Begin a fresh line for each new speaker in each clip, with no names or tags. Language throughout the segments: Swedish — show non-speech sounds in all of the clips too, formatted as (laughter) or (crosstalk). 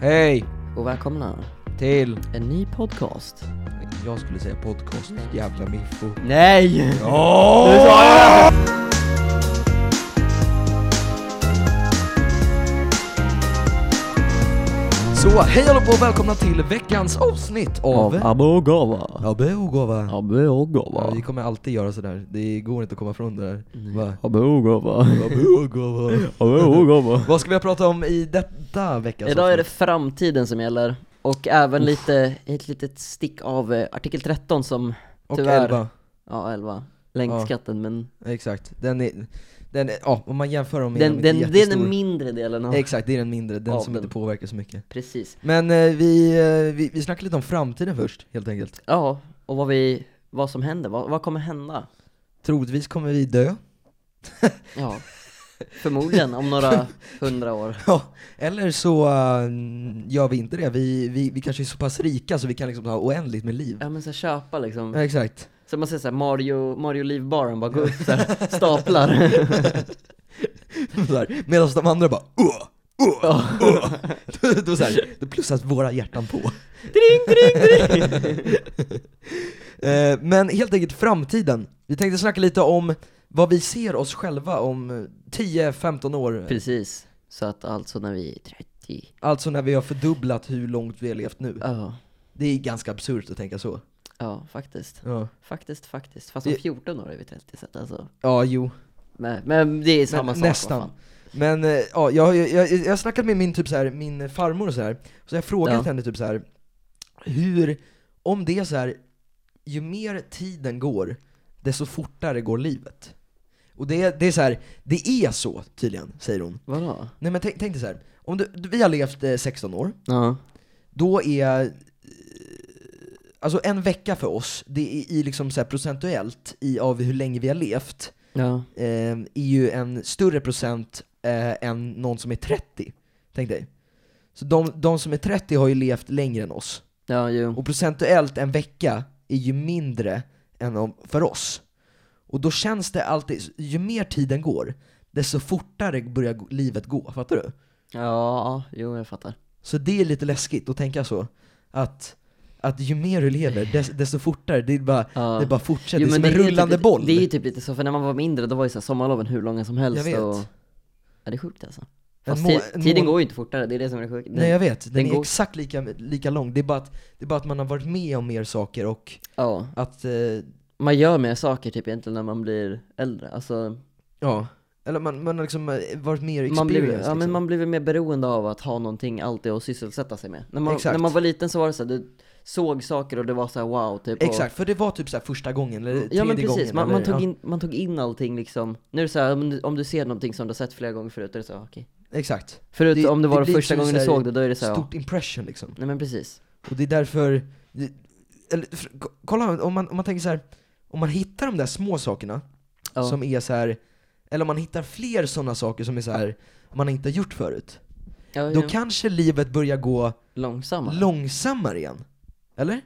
Hej
och välkomna
till,
en ny podcast.
jag skulle säga podcast, jävla miffo.
Nej!
Oh! Så hej allihopa och välkomna till veckans avsnitt
Av
av
Abogava.
Abogova. Ja,
Abogava.
vi kommer alltid göra sådär, det går inte att komma från det där. Va?
Abogava.
Abogova.
Abogava.
Vad ska vi prata om i detta veckans
(laughs) Idag är det
avsnitt?
framtiden som gäller. Och även lite, ett litet stick av eh, artikel 13 som
Och
tyvärr-
elva.
Ja, 11. Länkskatten, men
Exakt, den är, den är, ja om man jämför dem med
den,
de
den,
inte
den är
jättestor.
mindre delen av...
Exakt, det är den mindre, den
Av
som
den.
inte påverkar så mycket
Precis.
Men eh, vi, eh, vi, vi snackar lite om framtiden först, helt enkelt
Ja, och vad vi, vad som händer, vad, vad kommer hända?
Troligtvis kommer vi dö
Ja, förmodligen om några hundra år.
(laughs) Ja, eller så eh, gör vi inte det, vi, vi, vi kanske är så pass rika så vi kan liksom ha oändligt med liv
Ja men så här, köpa liksom
Ja, (laughs) exakt
Så man säger såhär Mario, Mario Livbaren bara går upp
(laughs)
såhär, staplar
Såhär, Medan de andra bara åh, åh, åh. (laughs) Då, då, såhär, då plussas våra hjärtan på
Dring, dring, dring
(laughs) Eh, Men helt enkelt framtiden, vi tänkte snacka lite om vad vi ser oss själva om eh, 10-15 år
Precis, så att alltså när vi är 30
Alltså när vi har fördubblat hur långt vi har levt nu.
Ja,
Det är ganska absurt att tänka så.
ja faktiskt
Ja,
Faktiskt, faktiskt, fast om 14 år är vi 30 så att alltså
ja jo.
Men, men det är samma
Men
sak
nästan.
vad fan.
Men eh, ja, jag, har ju- jag, jag har snackat med min, typ så här, min farmor och så här. så jag har frågat
Ja.
henne typ så här. hur, om det är så här, ju mer tiden går, desto fortare går livet. Och det, det är så här, det är så tydligen, säger hon.
Vadå?
Nej men tänk, tänk dig så här. om du, vi har levt eh, 16 år,
Ja,
då är eh, Alltså en vecka för oss, det är i liksom så här procentuellt i, av hur länge vi har levt,
ja,
eh, är ju en större procent eh, än någon som är 30. Tänk dig. Så de, de som är 30 har ju levt längre än oss.
ja jo
Och procentuellt en vecka är ju mindre än om, för oss. Och då känns det alltid, ju mer tiden går, desto fortare börjar g- livet gå. Fattar du?
Ja, jo jag fattar
Så det är lite läskigt att tänka så. Att, att ju mer du lever, des, desto fortare. Det är bara,
Ja.
det är bara fortsätter.
Jo,
det är som en
det är ju
rullande
typ,
boll.
Det är ju typ lite så, för när man var mindre då var ju såhär sommarloven hur långa som helst
Jag vet.
och Ja det är sjukt alltså
En
Fast
må-
ti-
en
tiden
må-
går ju inte fortare, det är det som är sjukt
Nej jag vet, den,
den
är
går-
exakt lika, lika lång. Det är, bara att, det är bara att man har varit med om mer saker och
Ja,
att, eh,
man gör mer saker typ egentligen när man blir äldre, alltså
ja. Eller man, man har liksom eh, varit mer experienced.
man blir, ja,
liksom.
men man blir väl mer beroende av att ha någonting alltid att sysselsätta sig med När man,
Exakt.
när man var liten så var det så här, du såg saker och det var så här wow typ och,
Exakt, för det var typ så här första gången, eller tredje
Ja men precis,
gången.
man, man,
eller,
tog
ja,
in, man tog in allting liksom Nu är det så här, om du, om du ser någonting som du har sett flera gånger förut, då är det så här, okej
Exakt.
Förut
Det-
om det
det
var
blir
första
som
gången
så
du
här
såg det, då är det så här, ja.
Stort impression liksom.
Nej men precis
Och det är därför, det, eller, f- k- kolla om man, om man tänker så här. om man hittar de där små sakerna
Ja.
som är så här. eller om man hittar fler sådana saker som är så här man inte har gjort förut,
ja,
då
ja.
kanske livet börjar gå
Långsammare
långsammare igen. Eller?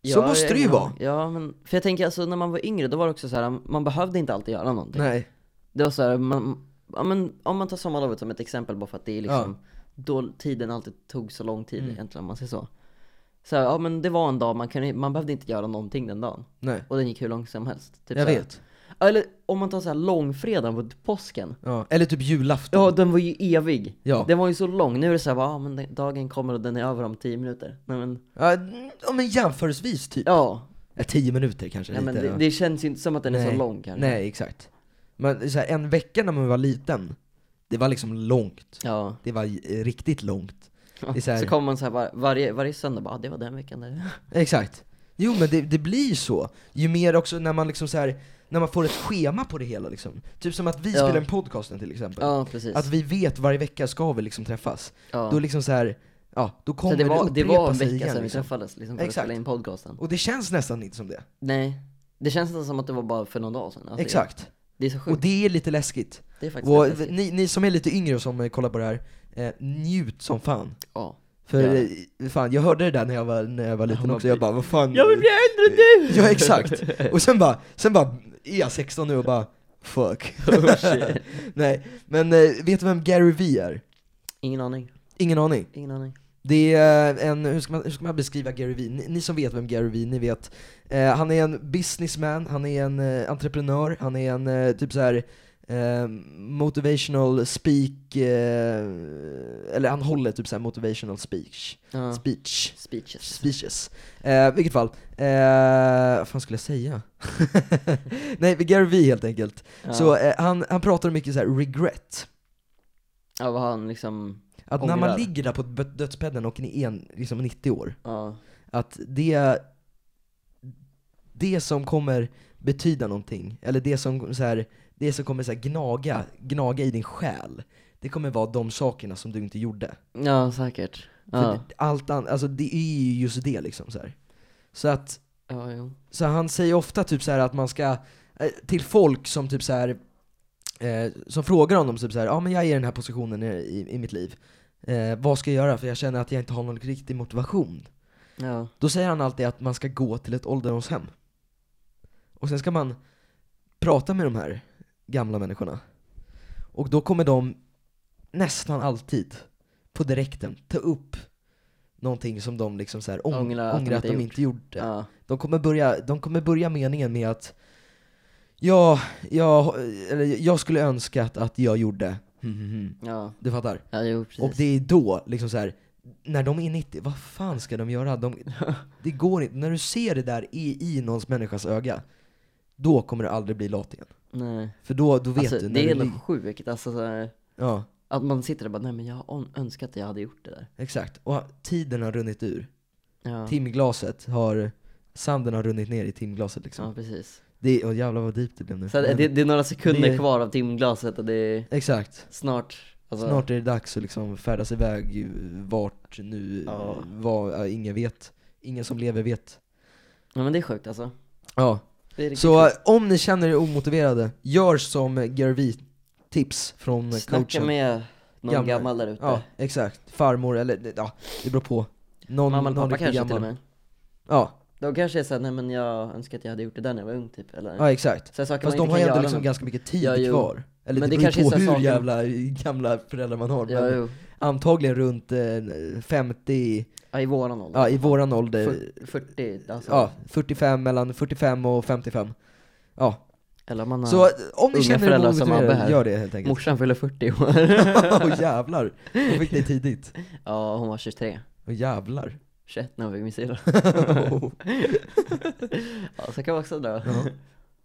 Ja,
så måste
jag-
det ju vara.
Ja men, för jag tänker alltså när man var yngre, då var det också så här, man behövde inte alltid göra någonting
Nej.
Det var så här, man, ja, men, om man tar sommarlovet som ett exempel bara för att det är liksom då tiden alltid tog så lång tid
Mm.
egentligen om man säger så. Så här, ja men det var en dag, man, kunde, man behövde inte göra någonting den dagen.
Nej.
Och den gick hur långt som helst. Typ
Jag
så här.
vet.
Ja, Eller om man tar så här långfredagen på påsken.
Ja. Eller typ julafton.
Ja den var ju evig.
Ja.
Den var ju så lång. Nu är det så här, bara, ja men den- dagen kommer och den är över om 10 minuter. Nej men,
Ja, ja men jämförelsevis typ.
ja.
Ja, tio minuter kanske.
ja men
lite,
det, det känns ju inte som att den är så
Nej.
lång kanske.
Nej, exakt. Men så här, en vecka när man var liten, det var liksom långt.
Ja.
Det var eh, riktigt långt. är så
(laughs) så,
här-
kommer man så här var, varje, varje söndag bara, ah, det var den veckan det.
Exakt. Jo men det, det blir så. Ju mer också när man liksom så här, när man får ett schema på det hela liksom. Typ som att vi
Ja.
spelar en podcasten till exempel.
Ja precis.
Att vi vet varje vecka ska vi liksom träffas.
ja.
Då liksom så här, ja, då kommer
Så det var, det
upprepa
var en
sig
vecka
igen,
sedan vi
liksom.
träffades Alltså, liksom, för
Exakt.
att spela in podcasten.
Och det känns nästan inte som det.
Nej, det känns nästan som att det var bara för någon dag sedan. Alltså,
Exakt.
Det är så
Och
sjukt.
det är lite läskigt.
Det är faktiskt
Och
rätt läskigt.
ni, ni som är lite yngre och som eh, kollar på det här, eh, njut som fan.
Ja.
För
Ja.
eh, fan, jag hörde det där när jag var, när jag var liten
man
också, jag bara vad fan
äldre nu!
Ja exakt! Och sen bara, sen bara är jag 16 nu och bara fuck
Oh,
(laughs) Nej, men eh, vet du vem Gary Vee är?
Ingen aning.
Ingen aning
Ingen aning.
Det är en, hur ska man, hur ska man beskriva Gary Vee? Ni, ni som vet vem Gary Vee, ni vet. Eh, han är en businessman, han är en eh, entreprenör, han är en eh, typ så här eh, motivational speak, eh, eller han håller typ så här motivational speech.
Ja.
Speech.
Speeches.
Speeches. Eh, vilket fall, eh, vad fan skulle jag säga? (laughs) Nej, Gary Vee helt enkelt.
Ja.
Så eh, han, han pratar mycket så här regret.
Ja, vad han liksom,
Att när man
Ångrar.
ligger där på dö- dödsbädden och är en, liksom 90 år,
ja.
att det, det som kommer betyda någonting, eller det som, så här, det som kommer så här, gnaga, gnaga i din själ, det kommer vara de sakerna som du inte gjorde.
Ja, säkert.
För
Ja.
det- allt an, alltså det är ju just det liksom så här. Så att,
Ja, jo.
så han säger ofta typ så här att man ska, eh, till folk som typ så här eh, som frågar honom typ så här, ja men jag är i den här positionen i, i, i mitt liv, eh, vad ska jag göra för jag känner att jag inte har någon riktig motivation?
Ja.
Då säger han alltid att man ska gå till ett ålderdomshem. Och sen ska man prata med de här gamla människorna. Och då kommer de nästan alltid på direkten ta upp någonting som de liksom så här ång-
Ångrar att de
ångrar att de
inte
inte gjorde.
Ja.
De, kommer börja, de kommer börja meningen med att ja, jag, eller, jag skulle önska att, att jag gjorde hmm,
Ja.
Du fattar?
Ja, jo, precis.
Och det är då, liksom så här, när de är 90, vad fan ska de göra?
(laughs)
De, det går inte. När du ser det där i, i någons människas öga, då kommer du aldrig bli lat igen.
Nej.
För då, då vet
Alltså,
du. när
det
du
är
lig-
helt sjukt, alltså så här,
Ja,
att man sitter där och bara, nej men jag on- önskar att jag hade gjort det där.
exakt. Och tiden har runnit ur.
Ja,
Typ, Timglaset har, sanden har runnit ner i timglaset liksom.
ja precis.
Det, och jävlar vad deep det blev nu.
Så det,
Men-
det, det är några sekunder
det-
kvar av timglaset och det är
Exakt.
snart, alltså,
Snart är det dags att liksom färdas iväg eh, vart nu,
Ja.
vad, ja, ingen vet. Ingen som lever vet.
Ja men det är sjukt alltså.
Ja.
Det är riktigt
Så
sjukt.
eh, om ni känner er omotiverade, gör som Gary Vee tips från eh,
Snacka
coachen.
med någon
Gammal.
gammal, där ute.
Ja, exakt. Farmor eller, ja, det beror på. Någon,
Mamma
någon
eller pappa
riktigt
kanske till
gammal.
och med.
Ja,
De kanske är såhär, nej men jag önskar att jag hade gjort det där när jag var ung typ, eller?
ja exakt.
Så här saker
Fast
man
de har ju
inte
ändå
kan
liksom
göra.
ganska mycket tid
Ja, jo.
kvar. Eller
Men
det
det
beror
kanske är
ju på
så här
hur
saker-
jävla gamla föräldrar man har,
Ja,
men
jo.
antagligen runt eh, 50,
ja, i våran ålder.
ja i våran ålder,
Fyr- 40, alltså.
ja 45, mellan 45 och 55. Ja,
Eller om man har...
så eh, om ni
Unga
känner er
föräldrar som Abbe
omotiverade,
här.
gör det helt enkelt.
Morsan fyller 40 i år.
(laughs) Åh jävlar, hon fick dig tidigt.
(laughs) ja, hon var 23.
Åh jävlar.
21 när hon fick min syrra.
(laughs)
(laughs) ja, så kan man också dra.
Ja.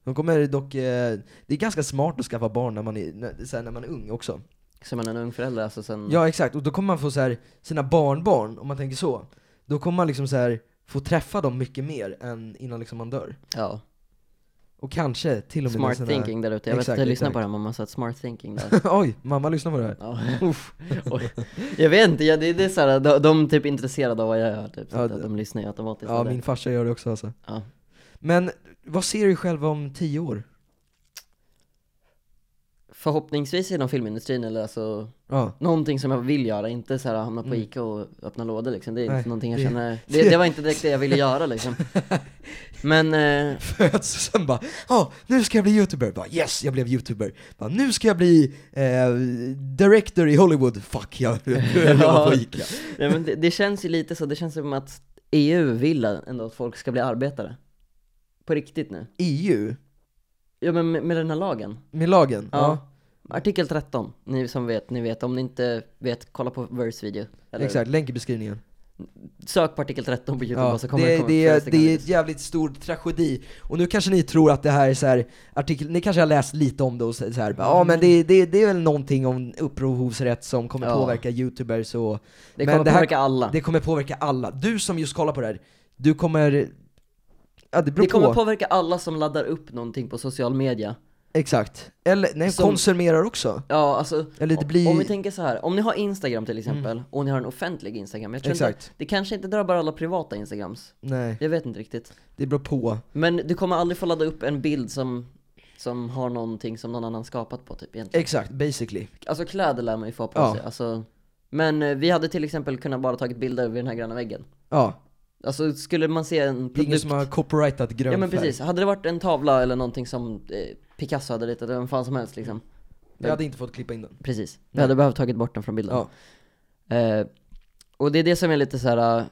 De kommer dock, eh, det är ganska smart att skaffa barn när man är, när, så här, när man är ung också.
Så man är en ung förälder alltså sen...
Ja exakt, och då kommer man få så här, sina barnbarn, om man tänker så, då kommer man liksom så här, få träffa dem mycket mer än innan liksom man dör.
ja.
Och kanske till och med
Smart
sina...
thinking där ute. Jag vet
Exakt,
att jag lyssnar
exakt.
på det här mamma, så att smart thinking där.
(laughs) Oj, mamma lyssnar på det här.
Ja. Uff. Oj. Jag vet inte, jag, det, det är såhär, de, de är typ intresserade av vad jag gör typ, så
Ja,
att
det-
de lyssnar ju automatiskt.
Ja,
där.
min farsa gör det också alltså.
ja.
Men vad ser du själv om tio år?
Förhoppningsvis inom filmindustrin eller alltså
Ja, (laughs)
Någonting som jag vill göra, inte så här hamna på
Mm.
Ica och öppna lådor liksom. Det är
Nej,
inte någonting jag
det-
känner, det, det var inte direkt
(laughs)
det jag ville göra liksom. Men, eh,
föds och sen bara ja, nu ska jag bli youtuber, bara yes, jag blev youtuber. Bara, nu ska jag bli eh, director i Hollywood, fuck
(laughs)
jag (laughs) jag jobbar på Ica.
nej, men det, det känns ju lite så, det känns som att EU vill ändå att folk ska bli arbetare. På riktigt nu.
EU,
Ja men med, med den här lagen.
med lagen?
Ja. Artikel 13, ni som vet, ni vet. Om ni inte vet, kolla på Verse video. Eller
Exakt, länk i beskrivningen.
Sök på artikel 13 på youtube
Ja,
och så kommer
det,
komma
det,
flera
är-
stycken
det är
videos.
ett jävligt stor tragedi, och nu kanske ni tror att det här är så här, artikel, ni kanske har läst lite om det och så så här, bara, ja men det, det, det är väl någonting om upphovsrätt som kommer
Ja.
påverka youtubers och
Det
men
kommer
det här-
påverka alla.
det kommer påverka alla. Du som just kollar på det här, du kommer, ja det beror
det kommer
på.
påverka alla som laddar upp någonting på social media.
Exakt. Eller, nej,
Som-
konsumerar också.
Ja, alltså,
Eller det
om-
blir-
om vi tänker så här, om ni har Instagram till exempel, och ni har en offentlig Instagram, jag tror
Mm. Exakt.
inte, det kanske inte drabbar alla privata Instagrams,
Nej,
jag vet inte riktigt.
det beror på.
Men du kommer aldrig få ladda upp en bild som, som har någonting som någon annan skapat på typ egentligen.
Exakt, basically.
Alltså kläder lär man ju få ha på
Ja.
sig, alltså, men eh, vi hade till exempel kunnat bara tagit bilder vid den här gröna väggen.
Ja,
Alltså skulle man se en
det är ingen
produkt
som har copyrightat grön
Ja men
färg.
precis, hade det varit en tavla eller någonting som eh, Picasso hade ritat, eller vem fan som helst liksom
Jag hade inte fått klippa in den.
Precis, vi
Nej.
hade behövt tagit bort den från bilden
Ja.
eh, Och det är det som är lite så här. äh,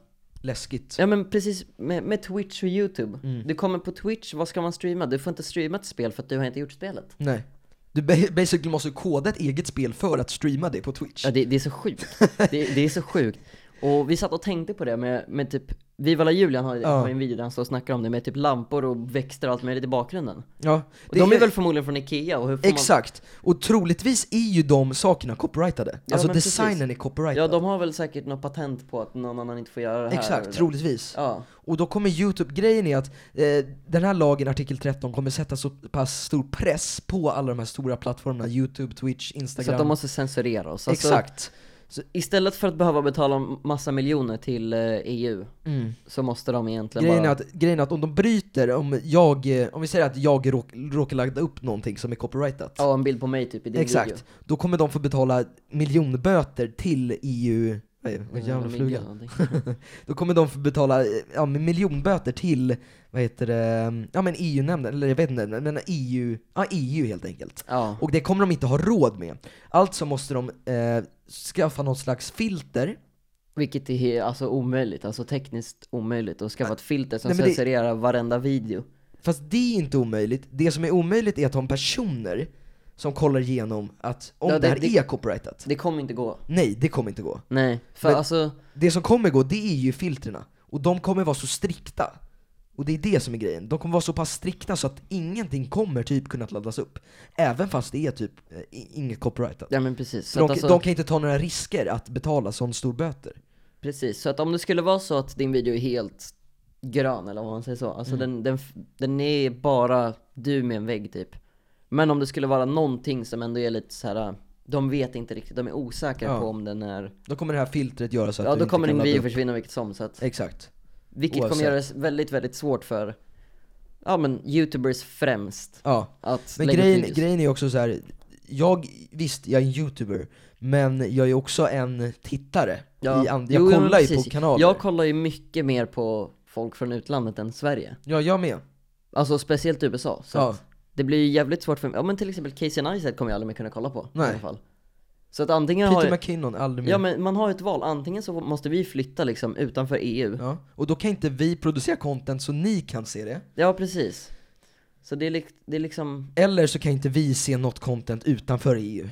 Läskigt.
ja men precis med, med Twitch och YouTube.
Mm.
Du kommer på Twitch, vad ska man streama? Du får inte streama ett spel för att du har inte gjort spelet.
Nej. Du ba- basically måste koda ett eget spel för att streama det på Twitch.
Ja, det, det är så sjukt. Det, det är så sjukt. Och vi satt och tänkte på det med, med typ, Vivala Julian har, har ju en video där han står och snackar om det med typ lampor och växter och allt möjligt i bakgrunden.
Ja,
Och
det
de är väl förmodligen från Ikea och hur får man...
Exakt, och troligtvis är ju de sakerna copyrightade.
Ja,
alltså
men precis.
designen är copyrightad.
Ja, de har väl säkert något patent på att någon annan inte får göra det här.
Exakt,
eller-
troligtvis.
Ja.
Och då kommer Youtube, grejen är att eh, den här lagen, artikel 13, kommer sätta så pass stor press på alla de här stora plattformarna, Youtube, Twitch,
Så
Instagram.
att de måste censurera oss. Alltså,
Exakt.
Istället för att behöva betala massa miljoner till eh, EU
Mm.
så måste de egentligen
Grejen,
bara...
är att, grejen är att om de bryter, om jag, eh, om vi säger att jag råk, råkar ladda upp någonting som är copyrightat.
Ja, en bild på mig typ i din
Exakt.
video.
Då kommer de få betala miljonböter till EU, vad är- vad är jävla
Eller
fluga.
någonting.
Då kommer de få betala eh, ja, men miljonböter till, vad heter det, ja men EU-nämnden, eller jag vet inte, men EU, ja EU helt enkelt.
Ja.
Och det kommer de inte ha råd med. Alltså måste de eh, skaffa något slags filter.
Vilket är he- alltså omöjligt, alltså tekniskt omöjligt att skaffa ett filter som
Nej, men det-
censurerar varenda video.
Fast det är inte omöjligt. Det som är omöjligt är att ha personer som kollar igenom att om
Ja,
det,
det-
här
det-
är copyrightat.
Det kommer inte gå.
Nej, det kommer inte gå.
Nej, för
Men-
alltså,
Det som kommer gå, det är ju filtrerna. Och de kommer vara så strikta. Och det är det som är grejen. De kommer vara så pass strikta så att ingenting kommer typ kunna laddas upp. Även fast det är typ eh, i- inget copyrightat.
ja men precis.
Så
Så
de,
att alltså,
de kan inte ta några risker att betala sån stor böter.
Precis, så att om det skulle vara så att din video är helt grön eller vad man säger så, alltså
Mm.
den, den, f- den är bara du med en vägg typ. Men om det skulle vara någonting som ändå är lite så här. de vet inte riktigt, de är osäkra
Ja.
på om den är,
Då kommer det här filtret göra så att
ja
du
då
inte
kommer
kan
din
ladda
video
upp.
försvinna vilket som, så att,
Exakt.
vilket kommer
oavsett.
göra det väldigt, väldigt svårt för, ja men youtubers främst
Ja.
att
Men
lägga upp
grejen,
videos.
grejen är också så här. jag, visst jag är en youtuber, men jag är också en tittare. I and- jag
Jo, jo, men
kollar ju på
precis.
kanaler.
Jag kollar ju mycket mer på folk från utlandet än Sverige.
ja, jag med.
Alltså speciellt USA. Så
Ja.
att det blir ju jävligt svårt för mig. Ja men till exempel Casey Neistat kommer jag aldrig mer kunna kolla på
Nej.
i alla fall. Så att antingen har
Peter
jag,
McKinnon, aldrig mer.
Ja men man har ett val, antingen så måste vi flytta liksom utanför EU. Ja,
Ja, och då kan inte vi producera content så ni kan se det.
precis. Så det är, lik- det är liksom,
Eller så kan inte vi se något content utanför EU.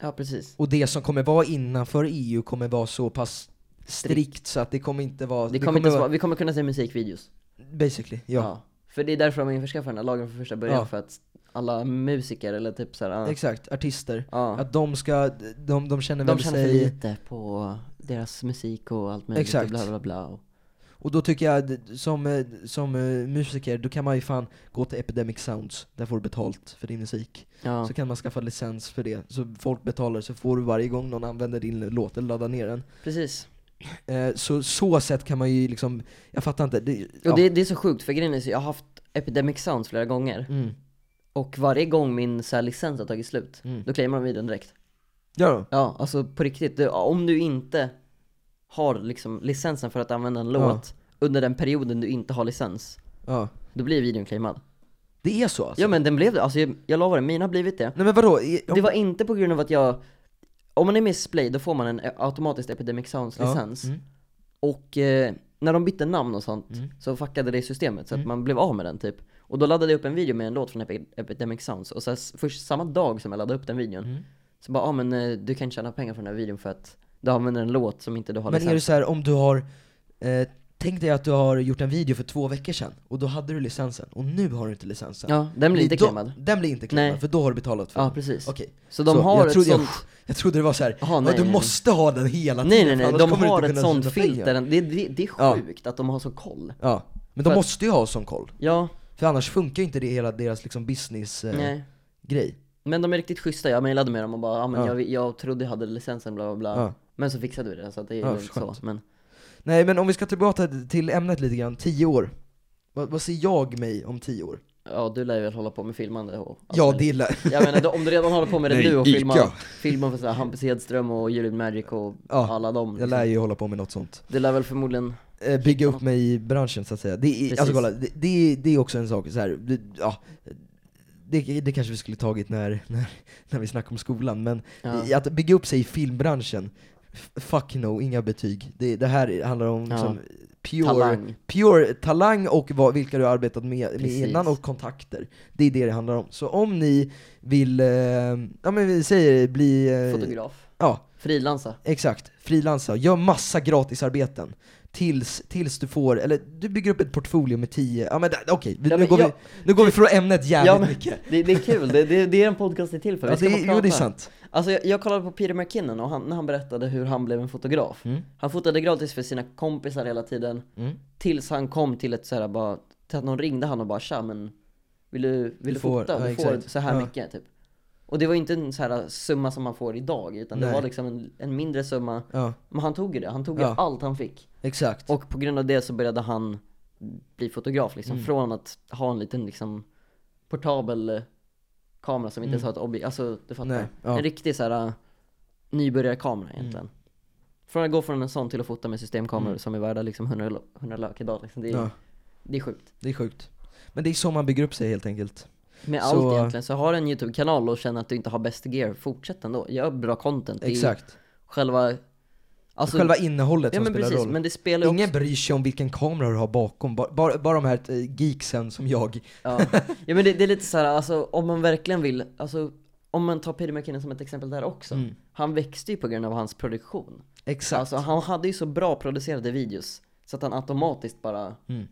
ja precis.
Och det som kommer vara innanför EU kommer vara så pass strikt så att det kommer inte vara...
Det kommer inte
vara...
vara, vi kommer kunna se musikvideos.
Basically, ja.
För det är därför de införskaffar den här lagen från första början,
Ja.
för att alla musiker eller typ såhär, ja.
Exakt, artister.
ja.
Att de ska, de, de känner
De
väl
tjänar för E
sig...
lite på deras musik och allt möjligt
Exakt.
och bla bla bla. Och,
Och då tycker jag, d- som, eh, som eh, musiker, då kan man ju fan gå till Epidemic Sounds, där får du betalt för din musik.
ja.
Så kan man skaffa licens för det, så folk betalar så får du varje gång någon använder din låt eller laddar ner den.
Precis.
Eh, så så sätt kan man ju liksom, jag fattar inte. Det,
Och det, det är så sjukt för grejen är så jag har haft Epidemic Sounds flera gånger
mm,
och varje gång min så här, licens har tagit slut,
Mm.
då claimar de videon direkt.
ja då.
Ja, alltså på riktigt. Du, om du inte har liksom licensen för att använda en
Ja.
låt under den perioden du inte har licens,
Ja.
då blir videon claimad.
Det är så alltså?
Ja men den blev det, alltså jag, jag lovar det, mina har blivit det.
Nej men vadå? I- om-
Det var liksom- inte på grund av att jag, om man är med i Splay då får man en eh, automatiskt Epidemic
ja.
Sounds-licens.
Mm.
Och eh, när de bytte namn och sånt
Mm.
så fuckade det i systemet så att
Mm.
man blev av med den typ. Och då laddade jag upp en video med en låt från Epi- Epidemic Sounds och så här, s- först samma dag som jag laddade upp den videon
Mm.
så bara ah, men eh, du kan tjäna pengar från den här videon för att du använder en låt som inte du har
Men är det
licens.
så här, om du har, eh, tänk dig att du har gjort en video för två veckor sedan, och då hade du licensen, och nu har du inte licensen.
Ja, den blir inte
Då-
claimad.
Den blir inte claimad,
Nej.
för då har du betalat för
Ja
den.
precis.
Okej.
Så de
Så,
har
jag
ett
trodde jag-
sånt,
(laughs) Jag trodde det var så här,
Jaha,
ja,
nej,
du
nej.
måste ha den hela
nej
tiden
nej nej,
annars
de
kommer du
har
inte
ett
kunna
sånt
tjäna pengar.
filter, det, det, det är
Ja.
sjukt att de har sån koll.
Ja, men de
För att-
måste ju ha sån koll.
Ja,
För annars funkar ju inte det hela deras liksom business-grej.
nej. Men de är riktigt schyssta, jag mejlade med dem och bara ah, men
Ja.
jag, jag trodde jag hade licensen bla bla bla.
ja.
Men så fixade vi det så att det är
Ja,
lugnt så.
skönt.
Men
Nej men om vi ska tillbaka till ämnet lite grann, tio år. Vad, vad ser jag mig om tio år?
ja, du lär ju väl hålla på med filmande och allt
ja,
möjligt.
det är
Jag menar, då- om du redan håller på med det
Nej,
nu och
Ica.
filmar, filmar för såhär Hampus Hedström och Julian Magic och
Ja,
alla dem
jag
liksom.
lär ju hålla på med något sånt.
Det lär väl förmodligen,
Eh, bygga upp mig i branschen så att säga. Det är,
Precis.
alltså kolla, det, det, är, det är också en sak så här, det, ja. Det, det kanske vi skulle tagit när, när, när vi snackade om skolan, men
ja,
i- att bygga upp sig i filmbranschen f- fuck no, inga betyg. Det, det här handlar om
Ja.
liksom, pure, talang.
Talang.
pure talang och vad, vilka du har arbetat med, med
Precis.
innan och kontakter. Det är det det handlar om. Så om ni vill, eh, ja men vi säger bli, eh,
Fotograf.
ja,
Frilansa.
Exakt, frilansa. Gör massa gratisarbeten. Tills, tills du får, eller du bygger upp ett portfolio med tio, ja men där- okej, vi-
Ja,
nu,
men
går
jag-
vi, nu går vi från ämnet jävligt
Ja, men-
mycket.
Det, det är kul, det, det, det är en podcast är till för. Vi
Ja,
ska
det,
bara
är- jo det är
prata.
sant.
Alltså jag, jag kollade på Peter McKinnon och han, när han berättade hur han blev en fotograf.
Mm.
Han fotade gratis för sina kompisar hela tiden.
Mm.
Tills han kom till ett såhär bara, till att någon ringde han och bara tja men vill du, vill du,
Du får-
fota? Du
ja,
får
exakt.
så här
Ja.
mycket typ. Och det var inte en så här summa som man får idag utan det
Nej.
var liksom en, en mindre summa.
Ja,
Men han tog ju det, han tog ju
Ja.
allt han fick.
exakt. Mm.
Och på grund av det så började han bli fotograf liksom. Från att ha en liten liksom portabel eh, kamera som inte ens har ett objekt. Alltså du fattar.
Mm. Nej, ja. Mm.
En riktig så här eh, nybörjarkamera egentligen. Från att gå från en sån till att fota med systemkameror som är värda liksom 100, lo- 100 lök idag liksom. Det är,
Ja,
det är sjukt.
det är sjukt. Men det är så man bygger upp sig helt enkelt.
Med
Så-
allt egentligen. Så har du en YouTube-kanal och känner att du inte har bäst gear, fortsätt ändå. Gör bra content. Det är
Exakt.
Själva... Alltså,
Själva innehållet
ja,
som
men
spelar
precis,
roll.
Men det spelar ju
Ingen bryr sig om vilken kamera du har bakom, bara, bara, bara de här eh, geeksen som
(laughs)
jag.
Ja, ja men det, det är lite så här, alltså om man verkligen vill, alltså om man tar Peter McKinnon som ett exempel där också. Han växte ju på grund av hans produktion.
Mm. Exakt.
Alltså han hade ju så bra producerade videos så att han automatiskt bara
Mm.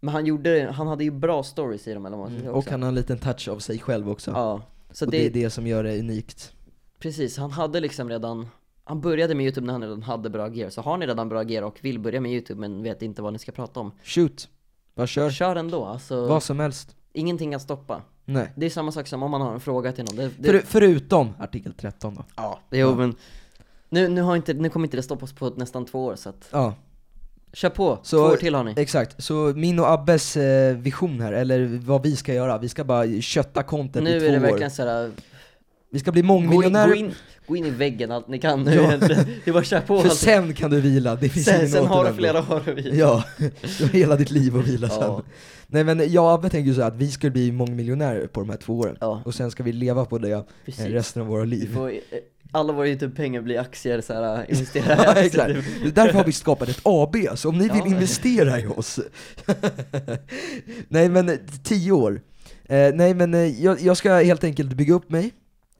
Men han gjorde, han hade ju bra stories i dem eller vad man ska säga
och
också.
han har en liten touch av sig själv också.
Ja, så
Mm, och
det,
det är det som gör det unikt.
precis, han hade liksom redan han började med YouTube när han redan hade bra gear, så har ni redan bra gear och vill börja med YouTube men vet inte vad ni ska prata om
Shoot, bara kör.
Kör ändå, alltså
Vad som helst.
ingenting kan stoppa
Nej.
Det är samma sak som om man har en fråga till någon det, det,
För, förutom artikel 13 då.
Ja, jo men nu, nu, har inte, nu kommer inte det stoppa oss på nästan två år så att
Ja,
kör på,
Så-
två år till har ni.
exakt. Så min och Abbes eh, vision här, eller vad vi ska göra, vi ska bara kötta content
Nu
i två
är det
år.
verkligen såhär,
Vi ska bli
gå in,
mångmiljonärer,
gå, in, gå in i väggen allt ni kan nu
Ja.
egentligen. Det är bara kör på.
för
Sen,
sen kan du vila, det finns
sen,
ingen
sen har du
återvändo.
flera år och vi.
Ja, (laughs) du har hela ditt liv att vila sen.
Typ. Ja.
Nej men jag och Abbe tänker ju så här att vi ska bli mångmiljonärer på de här två åren.
Ja.
Och sen ska vi leva på det eh,
Precis.
resten av våra liv.
Får, eh, alla våra YouTube-pengar blir aktier äh, såhär, investera
(laughs)
i
Ja,
aktier.
exakt. Det är Därför har vi skapat ett AB, så om ni
Ja.
vill investera i oss. (laughs) nej men eh, tio år. Eh, nej men eh, jag, jag ska helt enkelt bygga upp mig,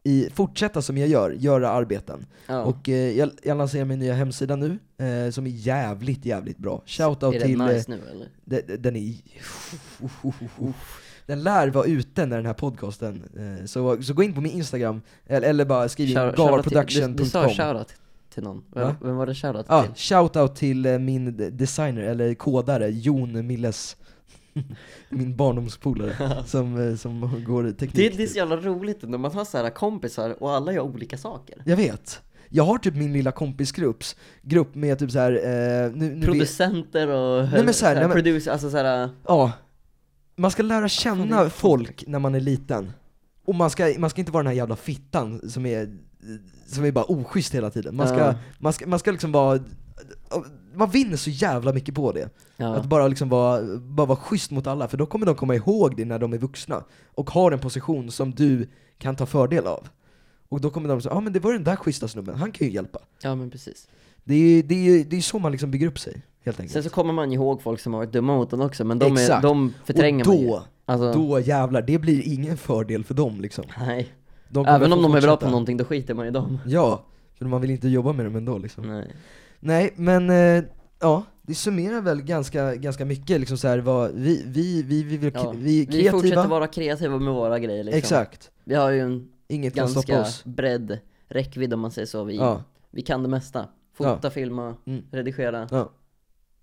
i, fortsätta som jag gör, göra arbeten.
Ja.
Och eh, jag, jag lanserar min nya hemsida nu, eh, som är jävligt jävligt bra.
är
Shoutout
det
till, eh,
nice nu eller?
de- de- den är... Den lär vara ute när den här podcasten, eh, så, så gå in på min instagram, eller, eller bara skriv in
Shout- shoutout till-
gavaproduction.com
Du, du sa shoutout till någon,
Va? Ah.
vem, vem var det shoutout
Ja,
till?
shoutout till eh, min de- designer, eller kodare, Jon Milles (laughs) Min
(laughs)
barndomspolare, som, eh, som går
Det,
teknik
är- det är så jävla roligt när man har såhär kompisar och alla gör olika saker.
Jag vet, jag har typ min lilla kompisgrupp grupp med typ såhär, eh, nu, nu vet,
producenter och
Nej, men så här,
så här,
nej, men-
producer, alltså så här,
ja Man ska lära
Fan, det
känna
är-
folk när man är liten Och man ska, man ska inte vara den här jävla fittan som är, som är bara oschysst hela tiden Man ska,
Ja.
man ska, man ska liksom vara man vinner så jävla mycket på det. Att
ja.
bara liksom vara, bara vara schysst mot alla, för då kommer de komma ihåg det när de är vuxna och har en position som du kan ta fördel av. Och då kommer de säga, ja ah, men det var den där schyssta snubben, han kan ju hjälpa.
ja men precis.
Det är ju det är, ju- det är så man liksom bygger upp sig, helt
Sen
enkelt.
så kommer man ju ihåg folk som har varit dumma mot en också, men de, är,
Exakt.
de förtränger
och
man ju.
då,
Alltså,
då jävlar, det blir ingen fördel för dem liksom.
nej.
De kommer
Även om
få
de är bra
fortsätta.
på någonting, då skiter man i dem.
Ja, för man vill inte jobba med dem ändå liksom.
Nej.
Nej, men eh, ja, det summerar väl ganska, ganska mycket liksom så här, vad, vi, vi, vi, vi, vi,
Ja.
vi är
Vi
kreativa.
fortsätter vara kreativa med våra grejer liksom.
Exakt.
Vi har ju en
Inget kan stoppa
ganska
oss.
bredd, räckvidd om man säger så. Vi,
Ja.
vi kan det mesta. Fota, filma,
Mm.
redigera.
Ja.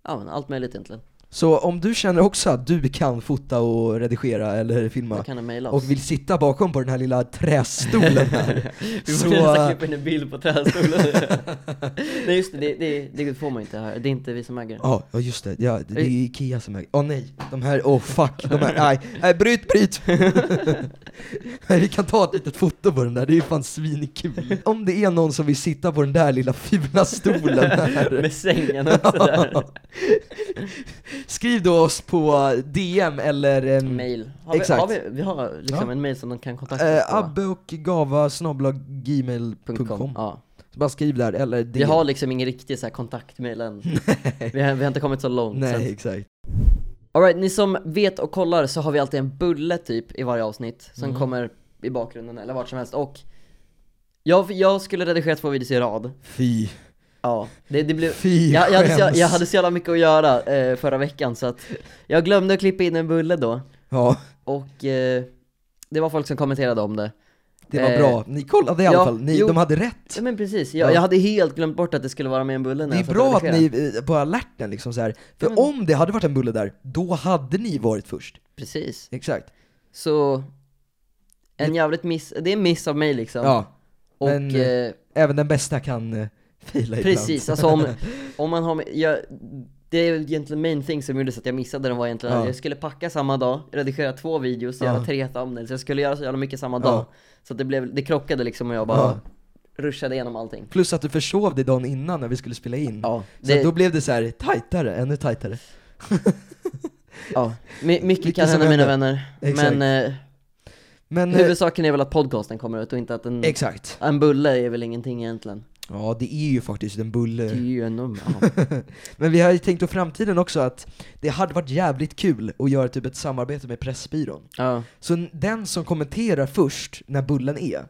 Ja men allt möjligt egentligen.
Så om du känner också att du kan fota och redigera eller
Då
filma
kan du mejla oss.
och vill sitta bakom på den här lilla trästolen här,
(laughs) Vi
så,
borde nästan
äh,
klippa in en bild
(laughs)
på trästolen. nej just det det, det, det får man ju inte här. Det är inte vi som äger det.
ja ja, just det, ja, det
Eh.
det är Ikea som äger, åh nej, de här, åh oh, fuck, de här, nej, nej bryt,
(laughs)
bryt! nej, vi kan ta ett litet foto på den där, det är ju fan svinkul. Om det är någon som vill sitta på den där lilla fula stolen
(laughs)
här,
(laughs) Med sängen också där.
(laughs) skriv då oss på DM eller en Eh,
Mail. Har vi,
Exakt.
Har vi, vi har liksom
Ja.
en mail som de kan kontakta
Eh,
oss på.
abbe och gava snabla gmail.com
Ja.
Så bara skriv där, eller det.
Vi har liksom ingen riktig så här kontakt
(laughs)
med än. Vi har, vi har inte kommit så långt. så
Nej,
att-
exakt.
Alright, ni som vet och kollar så har vi alltid en bulle typ i varje avsnitt som
Mm.
kommer i bakgrunden eller vart som helst och jag, jag skulle redigera två videos i rad.
Fy.
Ja, det, det blev...
Fy
Jag, jag, hade så,
skäms.
jag hade så jävla mycket att göra eh, förra veckan så att jag glömde att klippa in en bulle då
Ja,
och eh, det var folk som kommenterade om det.
det var
Eh,
bra. Ni kollade i alla
ja,
fall, ni,
jo.
de hade rätt.
Ja men precis, jag,
Ja.
jag hade helt glömt bort att det skulle vara med en bulle
Det
när
är
jag satt och
bra att
redigerade.
ni är på alerten liksom så här. För
Ja, men-
om det hade varit en bulle där, då hade ni varit först.
Precis,
Exakt.
så en jävligt miss, det är en miss av mig liksom.
Ja.
och
men,
eh,
Även den bästa kan eh, fila ibland.
Precis, alltså om, om man har med, jag, Det är egentligen main thing som gjorde så att jag missade den var egentligen
Ja.
att jag skulle packa samma dag, redigera två videos, göra
Ja.
tre thumbnails, jag skulle göra så jävla mycket samma
Ja.
dag Så att det, blev, det krockade liksom och jag bara
Ja.
ruschade igenom allting
Plus att du försov dig dagen innan när vi skulle spela in.
Ja,
Så
det,
att då blev det så här tajtare, ännu tajtare.
ja. My, mycket
Mycket
kan
som
hända mina
händer.
vänner
Exakt.
Men eh,
Men eh,
huvudsaken är väl att podcasten kommer ut och inte att en,
exakt.
en bulle är väl ingenting egentligen
Ja, det är ju faktiskt en
Det är
bulle.
ju
(laughs)
en nummer, ja.
Men vi har ju tänkt på framtiden också att det hade varit jävligt kul att göra typ ett samarbete med Pressbyrån.
ja.
Så n- den som kommenterar först när bullen är,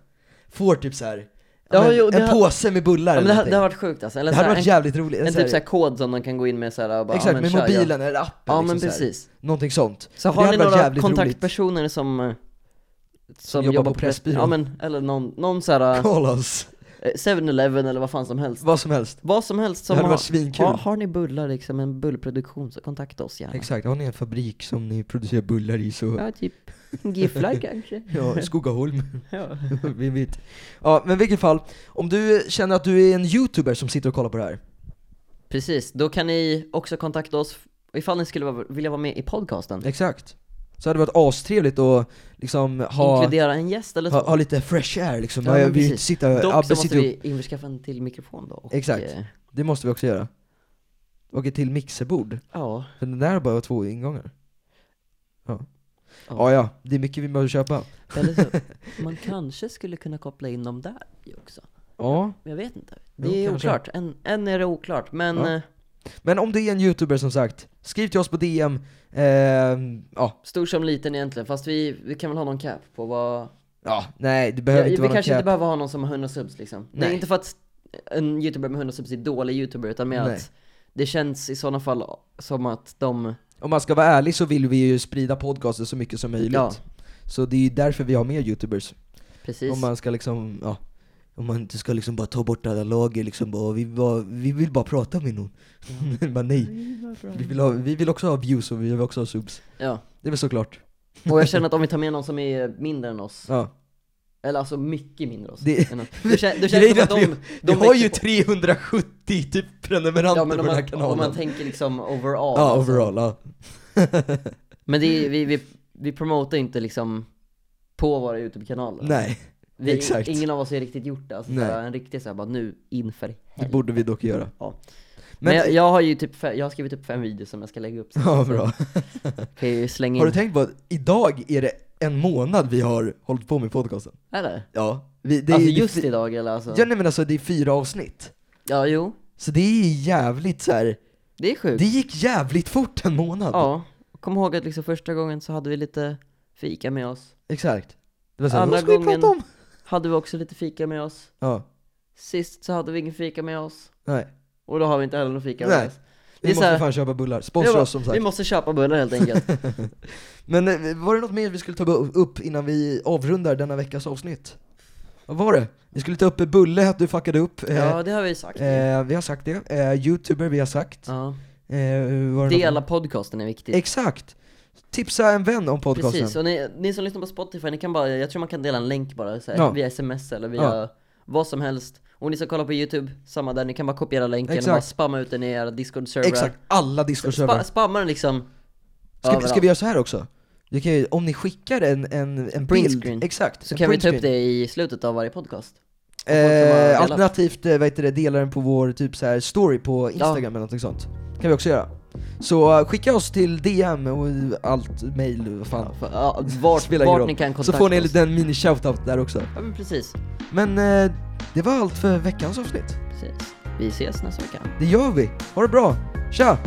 får typ så här
Ja,
men,
jo, det
en
har-
påse med bullar
ja men det,
eller
här- det
någonting.
har varit sjukt alltså, eller
det
så
hade
här,
varit jävligt roligt.
en, en
Så här-
typ såhär kod som de kan gå in med såhär och bara, ja,
Exakt,
men
med
kör, jag-
mobilen eller appen
Ja
liksom
men
så här.
precis
Någonting sånt.
Så
det
har ni
hade varit
några
jävligt
kontaktpersoner som, eh, som,
jobbar på Pressbyrån?
Ja men, eller någon, någon såhär, eh,
Call oss.
7-Eleven eller vad fan som helst
Vad som helst.
Vad som helst
Det
som
hade
har,
varit svinkul.
har, har ni bullar liksom, en bullproduktion så kontakta oss gärna
Exakt, har ni en fabrik som ni producerar bullar i så
Ja typ, gifflar kanske?
Ja, Skogaholm,
(laughs)
(laughs)
Ja.
vi vet. Ja, men i vilket fall, om du känner att du är en youtuber som sitter och kollar på det här,
Precis, då kan ni också kontakta oss ifall ni skulle vara- vilja vara med i podcasten
exakt, så hade det varit astrevligt att liksom ha,
Inkludera en gäst eller så
ha, ha lite fresh air liksom.
Ja, men
Ja, vi vill
precis.
inte sitta,
Dock
ja,
så
precis,
måste vi införskaffa en till mikrofon då och,
Exakt.
eh,
det måste vi också göra. Och ett till mixerbord,
Ja,
för den där har bara två ingångar. Ja.
Ja.
ja, ja, det är mycket vi behöver köpa. (laughs)
eller så Man kanske skulle kunna koppla in dem där ju också
Ja.
Jag vet inte. Det
Jo,
är
kanske.
oklart. Än, än är det oklart. Men
Ja.
eh,
Men om du är en youtuber som sagt, skriv till oss på DM, ehm, ja,
stor som liten egentligen. Fast vi, vi kan väl ha någon cap på vad...
ja, nej det
Ja,
behöver
vi
inte vara
kanske
någon
inte
cap.
behöver ha någon som har 100 subs liksom. Det är
Nej.
inte för att en youtuber med 100 subs är dålig youtuber, utan mer
Nej.
att det känns i sådana fall som att de...
Om man ska vara ärlig så vill vi ju sprida podcasten så mycket som möjligt.
Ja.
Så det är ju därför vi har med youtubers.
Precis.
Om man ska liksom, ja, om man inte ska liksom bara ta bort alla lager liksom bara, vi, bara, vi vill bara prata med någon. (laughs) bara nej. Vi vill, ha, vi vill också ha views och vi vill också ha subs.
Ja.
Det är väl såklart.
Och jag känner att om vi tar med någon som är mindre än oss,
Ja.
eller alltså mycket mindre än oss.
Det-
än oss. Du känner, du
(laughs)
känner
Grejen
som
är
att
att
de,
Vi
de
har ju
växer på.
370 typ prenumeranter
Ja men
på
om
den här
man,
kanalen.
om man tänker liksom overall.
ja,
alltså.
overall, ja. (laughs)
Men det är, vi, vi, vi promotar inte liksom på våra YouTube-kanaler.
Nej,
vi,
exakt.
Ingen av oss har riktigt gjort det. Alltså,
Nej.
såhär, en riktig såhär, bara nu inför
det
helvete.
borde vi dock göra.
Ja.
Men,
Men jag, jag har ju typ, fe- jag har skrivit upp fem videos som jag ska lägga upp. Så
ja, bra.
kan jag ju slänga in.
Har du tänkt på att idag är det en månad vi har hållit på med podcasten?
Eller?
Ja. Vi, det
alltså
är,
just
det, är fy-
idag eller alltså?
Ja nej men alltså det är fyra avsnitt.
Ja, jo.
Så det är jävligt så här.
Det är sjukt.
det gick jävligt fort en månad.
Ja. Kom ihåg att liksom första gången så hade vi lite fika med oss.
Exakt. Det var så här,
Andra
vad ska vi
gången-
prata om?
Hade vi också lite fika med oss.
Ja,
Sist så hade vi ingen fika med oss.
nej.
Och då har vi inte heller någon fika
Nej.
med oss. Det
Vi
är så här-
måste fan köpa bullar,
Jag
sponsra
bara,
oss som
Vi
sagt.
måste köpa bullar helt enkelt.
(laughs) Men eh, var det något mer vi skulle ta upp innan vi avrundar denna veckas avsnitt? Vad var det? Vi skulle ta upp eh, Bulle, att du fuckade upp. Eh,
Ja, det har vi ju sagt.
eh, vi har sagt det. Eh, Youtuber, vi har sagt.
ja.
Eh, var det
Dela
något?
podcasten är viktigt.
Exakt! Tipsa en vän om podcasten.
Precis, och ni, ni som lyssnar på Spotify, ni kan bara, jag tror man kan dela en länk bara så här,
Ja.
via sms eller via
Ja.
vad som helst. Och ni som kollar på YouTube, samma där, ni kan bara kopiera länken
Exakt.
och bara spamma ut den i era Discord-servrar.
Exakt, alla
Spa,
Discord-servrar.
spamma den liksom
Ska,
överallt.
ska vi göra så här också? Du kan ju, om ni skickar en, en, en
Print
bild,
screen.
exakt,
Så
en
kan vi
print
ta upp
screen.
det i slutet av varje podcast. folk som har
Eh,
delat.
alternativt, eh, vad heter det, dela den på vår typ så här story på Instagram eller någonting sånt. kan vi också göra. Så eh, skicka oss till DM och allt, mail, vad fan.
För, ja, vart
Spelar ingen
vart
roll.
ni kan kontakta
så får ni en
oss.
liten mini-shoutout där också.
Ja men precis.
Men eh, Det var allt för veckans avsnitt.
Precis. Vi ses nästa vecka.
Det gör vi. Ha det bra. Tja!